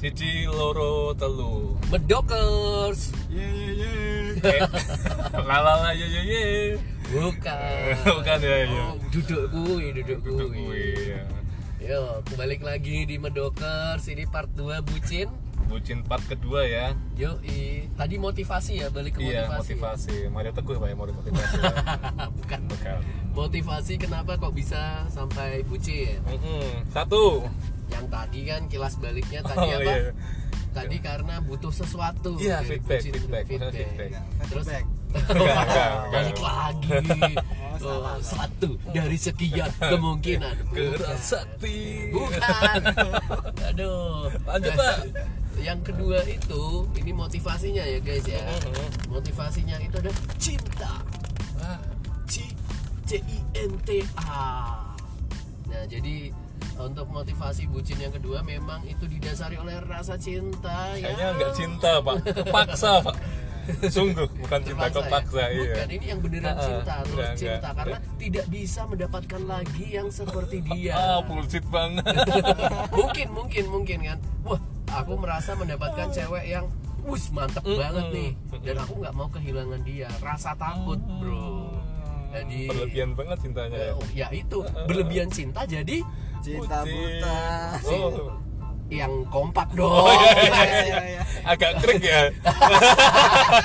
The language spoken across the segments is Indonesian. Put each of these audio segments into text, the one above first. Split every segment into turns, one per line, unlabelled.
Siji loro telu.
bedokers
Ye ye ye. Eh, La la la ye ye ye.
bukan
Bukan, ya, ya.
Oh, duduk kui duduk
Duduk
kui
kuwi. ya.
yo balik lagi di medokers ini part 2 bucin
Bucin part kedua ya.
yo tadi motivasi ya balik ke
Iya,
motivasi ya?
motivasi. ya. Mario Teguh Pak ya, Mario motivasi.
bukan
Bukan.
motivasi kenapa kok bisa sampai bucin
Mm-mm. Satu.
yang tadi kan kilas baliknya tadi
Oh,
apa
iya.
tadi karena butuh sesuatu
Iya,
dari
feedback,
bucin.
feedback, maksudnya feedback.
terus
Feedback.
Enggak, enggak, enggak.
balik lagi oh, satu dari sekian
Iya.
kemungkinan
Gerak sakti.
bukan aduh Nah,
Lanjut, Pak.
yang kedua itu ini motivasinya ya guys ya
Mhm.
motivasinya itu ada cinta
Ah,
C C I N T A nah jadi untuk motivasi bucin yang kedua memang itu didasari oleh rasa cinta ya
Kayaknya nggak cinta Pak, kepaksa Pak. Sungguh bukan cinta
Terpaksa ya?
kepaksa iya.
Bukan, ini yang beneran
Ah,
cinta, terus
enggak,
cinta
enggak.
karena tidak bisa mendapatkan lagi yang seperti dia.
Ah, bullshit banget.
mungkin, mungkin, mungkin kan. Wah, aku merasa mendapatkan cewek yang wus mantep banget nih dan aku nggak mau kehilangan dia. Rasa takut, Bro. Jadi
Berlebihan banget cintanya ya.
eh, ya itu berlebihan cinta jadi
Cinta
Bucin.
buta.
Iya.
Oh.
yang kompak dong.
Oh, iya, iya,
Iya, iya, iya.
agak krik ya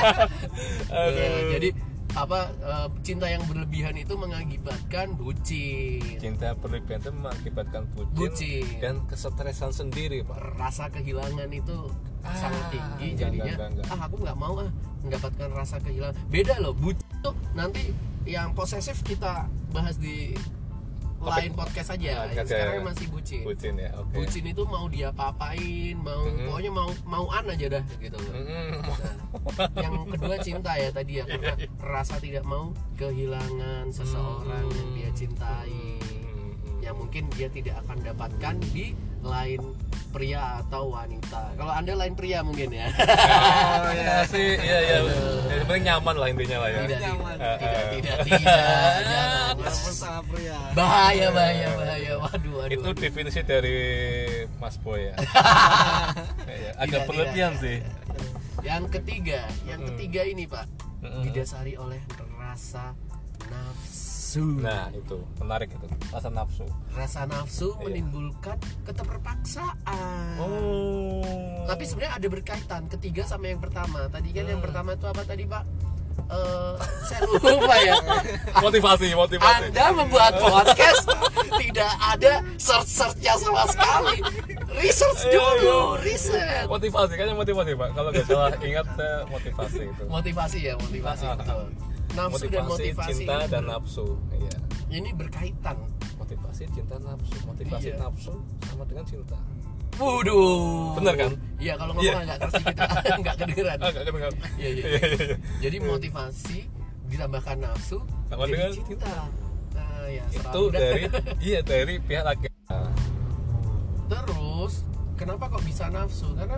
Eh,
Aduh.
jadi apa eh, cinta yang berlebihan itu mengakibatkan bucin.
cinta berlebihan itu mengakibatkan bucin,
Bucin.
dan kesetresan sendiri pak
rasa kehilangan itu sangat tinggi
Ah, enggak,
jadinya
enggak, enggak, enggak.
ah aku nggak mau ah mendapatkan rasa kehilangan beda loh bucin tuh nanti yang posesif kita bahas di lain podcast aja yang
Podcast ya.
sekarang masih bucin. bucin
bucin ya oke
itu mau dia papain mau
Mhm.
pokoknya mau mau an aja dah gitu loh
Mm-mm.
Nah, yang kedua cinta ya tadi ya
Iya,
karena rasa tidak mau kehilangan
Hmm,
seseorang yang dia cintai
Mm-mm.
yang mungkin dia tidak akan dapatkan di lain pria atau wanita. Kalau anda lain pria mungkin ya.
oh ya sih iya iya yang penting nyaman lah intinya lah ya
tidak,
Nyaman.
tidak, tidak,
eh.
tidak, tidak, jangan.
Walaupun sama pria.
Bahaya, bahaya, bahaya. Waduh, waduh.
itu
waduh.
definisi dari Mas Boy ya Iya, agak
tidak.
berlebihan sih
Yang ketiga, yang
Mm-mm.
ketiga ini pak
Mm-mm.
didasari oleh rasa nafsu.
nah itu menarik itu rasa nafsu
Rasa
Iya.
nafsu menimbulkan keterpaksaan.
oh
tapi sebenarnya ada berkaitan ketiga sama yang pertama tadi kan
Hmm.
yang pertama itu apa tadi pak Eh, saya lupa ya
motivasi motivasi
anda membuat podcast tidak ada search searchnya sama sekali research
Iya,
dulu riset
motivasi kayaknya motivasi pak kalau nggak salah ingat saya motivasi itu
motivasi ya motivasi
Ah, ah,
betul
ah.
nafsu dan motivasi
cinta
ini,
dan
ber-
nafsu iya
ini berkaitan
motivasi cinta nafsu motivasi
Iya.
nafsu sama dengan cinta
Waduh
Bener kan?
Iya kalau
Iya.
ngomong agak terus kita nggak kedengeran
agak kedengar
Iya, iya.
iya.
Jadi motivasi ditambahkan nafsu
Tambah
jadi
dengan
cinta. Nah, ya,
itu
serang.
dari iya dari pihak laki
terus kenapa kok bisa nafsu? Karena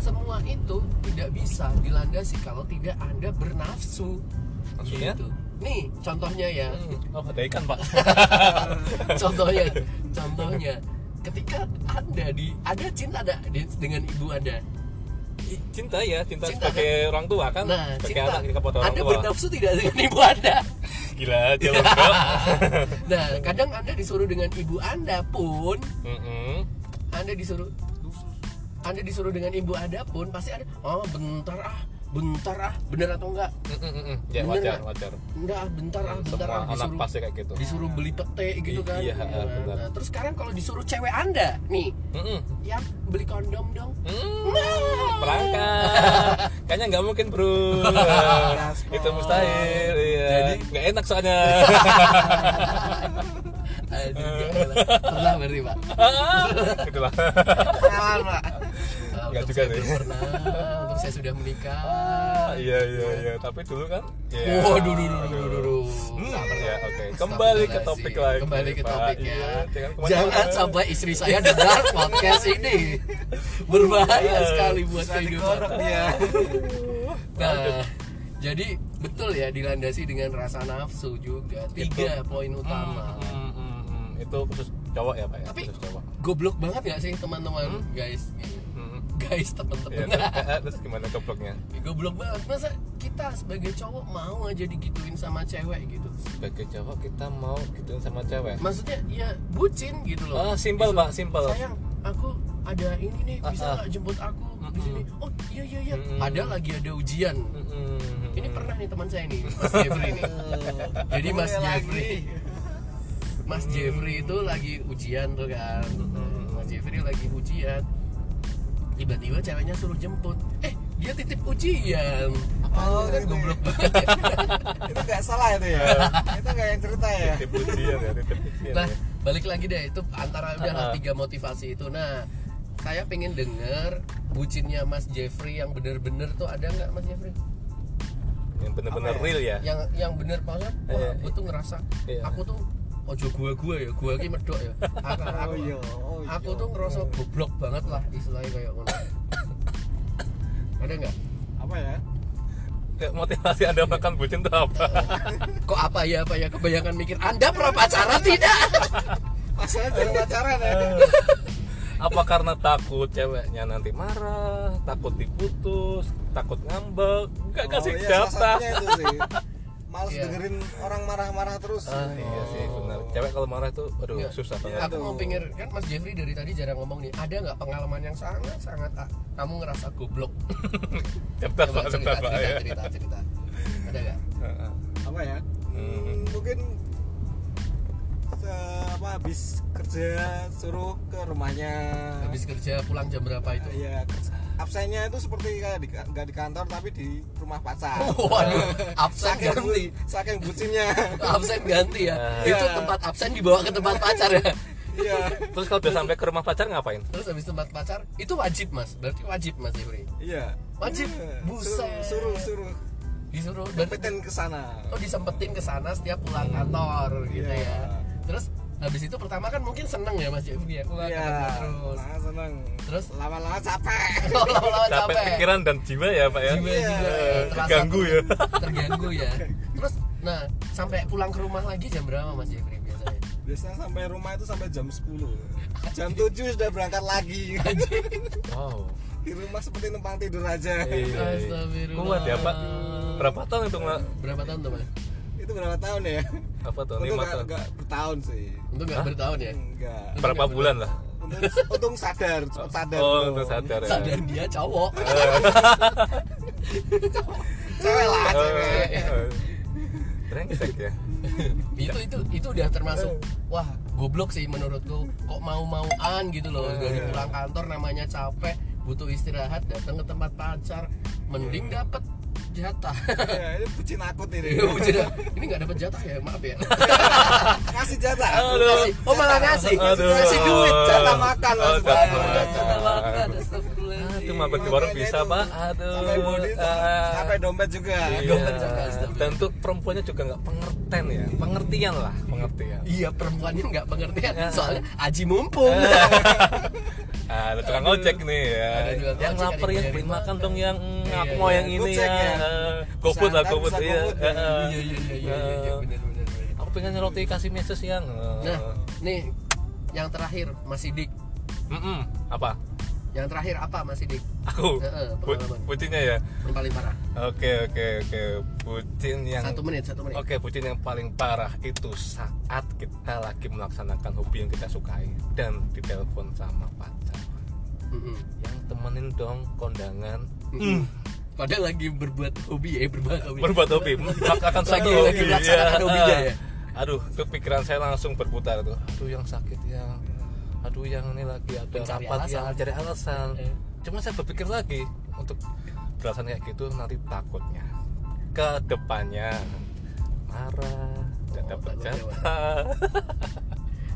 semua itu tidak bisa dilandasi kalau tidak Anda bernafsu.
Maksudnya?
Gitu. Nih, contohnya ya.
Hmm, oh ada ikan pak
contohnya, contohnya ketika Anda di ada cinta ada di- dengan ibu Anda.
I- cinta ya cinta,
Cinta,
sebagai orang tua kan
Nah,
sebagai
cinta.
anak kepada orang
Anda
tua
bernafsu tidak dengan ibu Anda?
gila aja loh Bro.
nah, kadang Anda disuruh dengan ibu Anda pun,
Mm-mm.
Anda disuruh Anda disuruh dengan ibu Anda pun pasti ada, "Oh, bentar ah, bentar ah." Bener atau enggak?
Mm-mm-mm. ya
Bener
wajar
nggak?
wajar
Enggak, ah, bentar ah, bentar
semua
ah
anak
disuruh
pasti kayak gitu
disuruh beli pete gitu
I-
kan.
iya,
Nah,
benar.
nah, terus sekarang kalau disuruh cewek Anda nih,
Mm-mm.
yang beli kondom dong.
Hmm,
Nah.
perangkat kayaknya nggak mungkin bro
Gaspol.
itu mustahil iya.
Jadi-
nggak enak soalnya
Aduh, jangan lah. Pernah berarti, Pak.
itulah
Nyaman, Pak.
Nah,
Nggak
untuk
juga
saya
sih.
belum Pernah, untuk saya sudah menikah.
iya iya iya tapi dulu kan iya.
Waduh, duh, duh, duh, duh, duh.
Hmm,
Sabar.
ya, oke. Kembali ke topik lagi,
Kembali ke
Pak.
topik ya.
Iya, jangan kemana-mana.
Jangan sampai istri saya dengar podcast ini. Berbahaya
Iya.
sekali buat
Bisa
kehidupan.
digorok dia.
Nah, jadi betul ya dilandasi dengan rasa nafsu juga. Tiga poin utama.
Hmm, hmm, hmm. itu khusus cowok ya pak ya
Tapi
khusus cowok
goblok banget gak sih teman-teman guys?
Hmm.
guys temen-temen
Iya, terus gimana kebloknya?
goblok banget masa kita sebagai cowok mau aja digituin sama cewek gitu
Sebagai cowok kita mau gituin sama cewek.
maksudnya ya bucin gitu loh
Ah, simpel,
Bisa,
Pak, simpel.
sayang aku ada ini nih bisa
Ah, ah.
nggak jemput aku di
Mm-mm.
sini oh iya iya iya
Mm-mm.
ada lagi ada ujian
Hmm, Mm-mm.
ini pernah nih teman saya nih Mas Jeffrey nih jadi Mas
Mulai
Jeffrey
lagi.
Mas Jeffrey itu lagi ujian tuh kan Mas Jeffrey lagi ujian tiba-tiba ceweknya suruh jemput eh dia titip ujian
Oh,
kan
gitu.
goblok banget ya.
itu nggak salah itu ya itu nggak yang cerita ya
Titip ujian ya, titip ujian.
nah balik lagi deh itu antara udah lah
Ah.
tiga motivasi itu nah saya pengen denger bucinnya Mas Jeffrey yang bener-bener tuh ada nggak Mas Jeffrey
Yang bener-bener
Apa ya?
real ya.
yang yang bener maksudnya
Iya,
wah gue
iya.
tuh ngerasa
Iya.
aku tuh ojo gua gua ya gua ki medok ya aku, aku,
oh iya oh iya.
aku tuh ngerasa goblok banget lah istilahnya kayak ngono ada nggak
apa ya
Kayak Motivasi Anda makan bucin tuh apa?
kok apa ya apa ya kebanyakan mikir anda pernah pacaran tidak
masalah jadi pacaran ya
apa karena takut ceweknya nanti marah, takut diputus, takut ngambek, nggak kasih
iya,
data.
salah satunya itu sih males
Iya.
dengerin orang marah-marah terus
Ah, iya sih benar. Cewek kalau marah tuh aduh
Iya.
susah banget.
Aku mau pinggir kan Mas Jeffrey dari tadi jarang ngomong nih. Ada nggak pengalaman yang sangat sangat ah, kamu ngerasa goblok?
Cerdas
Coba
Pak,
cerita
cerdas Pak.
cerita
ya.
cerita, cerita. Ada nggak?
Heeh.
apa ya
Hmm.
Hmm, mungkin se- apa habis kerja suruh ke rumahnya
Habis kerja pulang jam berapa itu?
ya kerja- absennya itu seperti kayak di, nggak di kantor tapi di rumah pacar
Waduh, absen
saking
ganti.
bu- saking bucinnya
Absen ganti ya.
Nah.
Itu tempat absen dibawa ke tempat pacar ya.
iya
Terus kalau udah sampai ke rumah pacar ngapain?
Terus habis tempat pacar itu wajib Mas. Berarti wajib Mas Jeffrey.
iya
Wajib.
Iya.
Buset.
suruh suruh suruh
Disuruh dan
peten ke sana
oh disempetin ke sana setiap pulang kantor gitu
Iya.
ya. Terus habis itu pertama kan mungkin seneng ya Mas Jeffrey ya. Wah,
iya
kantor terus.
nah, seneng
Terus?
lama-lama capek
Oh, lama-lama
Capek pikiran dan jiwa ya Pak ya.
Iya.
Jiwa, jiwa,
Eh,
terasa
Terganggu ya.
terganggu ya terus nah sampai pulang ke rumah lagi jam berapa mas Jeffrey biasanya
biasanya sampai rumah itu sampai jam 10 jam 7 sudah berangkat lagi
Wow.
di rumah seperti numpang tidur aja
Iya.
Astagfirullah.
Kuat ya Pak. Berapa tahun itu nggak?
berapa tahun tuh mas
itu berapa tahun ya
Apa tahun?
untung
Lima
gak,
tahun.
gak bertahun sih
untuk nggak bertahun ya
Hmm. enggak
Berapa bulan lah?
untung, untung sadar cepet sadar
Oh,
dulu.
untuk sadar ya.
sadar dia cowok
cewek lah cewek
Eh, eh. Brengsek ya.
itu itu itu udah termasuk wah goblok sih menurutku kok mau-mauan gitu loh dari pulang kantor namanya capek butuh istirahat datang ke tempat pacar mending dapat jatah Iya,
ya, ini bucin akut ini
Iya.
ini nggak dapat jatah ya maaf ya
ngasih jatah
Ngasih. oh malah ngasih
Aduh.
ngasih duit jatah makan
Oh,
maksudnya.
jatah
Udah
makan.
jatah makan, astagfirullahaladzim.
Itu mampir di warung
Makanya
bisa
itu.
Pak. Aduh.
gitu. sampai body
Ah.
sampai dompet juga
Iya.
Dompet juga, astagfirullah.
Dan tuh perempuannya juga nggak pengertian ya, pengertian lah, pengertian.
Iya perempuannya nggak pengertian soalnya aji mumpung.
Ah, ada tukang ojek nih ya.
Ada tukang
Yang
ojek,
lapar
ada
yang
yang
beli
nyari
makan dong yang mm,
Iya,
aku mau
iya.
yang ini ya.
Gojek ya.
Eh, GoFood lah,
Bisa
GoFood
antar, bisa
iya.
GoFood, ya.
Eh,
Iya iya iya iya iya benar benar. benar.
Aku pengen roti kasih meses yang. eh,
Nah nih yang terakhir Mas Sidik.
mm-mm. apa?
Yang terakhir apa Mas Sidik?
Aku.
Eh, eh,
Bu-
pengalaman.
Bucinnya ya.
Yang paling parah.
Oke oke oke. Bucin yang
Satu menit satu menit.
Oke, bucin yang paling parah itu saat kita lagi melaksanakan hobi yang kita sukai dan ditelepon sama pacar.
Mm-mm.
Yang temenin dong kondangan
Mm-mm. Padahal lagi berbuat hobi ya berbuat hobi.
berbuat hobi, melaksanakan
Lagi-
satu
lagi
hobi.
melaksanakan
Iya.
hobinya ya?
Aduh, itu pikiran saya langsung berputar tuh. Aduh, yang sakit yang aduh yang ini lagi ada
Mencari
rapat
alasan.
yang cari alasan.
Iya.
Cuma saya berpikir lagi untuk belasan kayak gitu nanti takutnya ke depannya marah, ya, tidak
Oh,
dapat
takutnya
jatah.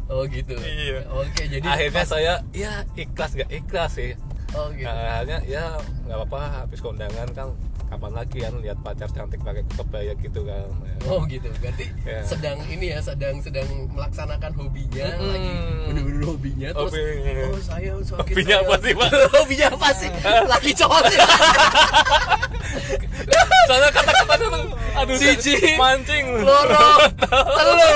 Oh gitu.
Iya.
Oke jadi
akhirnya saya ya ikhlas nggak ikhlas sih
Oh gitu.
Nah, akhirnya ya nggak apa-apa habis kondangan kan kapan lagi kan lihat pacar cantik pakai kebaya gitu kan
Oh gitu, berarti
Ya.
sedang ini ya, sedang sedang melaksanakan hobinya
Mm-mm.
lagi bener-bener hobinya terus
Hobinya.
oh saya sakit
Hobinya
saya.
apa sih, Pak?
hobinya apa sih? lagi cowok sih.
soalnya kata-kata tuh aduh
Jijik.
mancing
Loro, telu,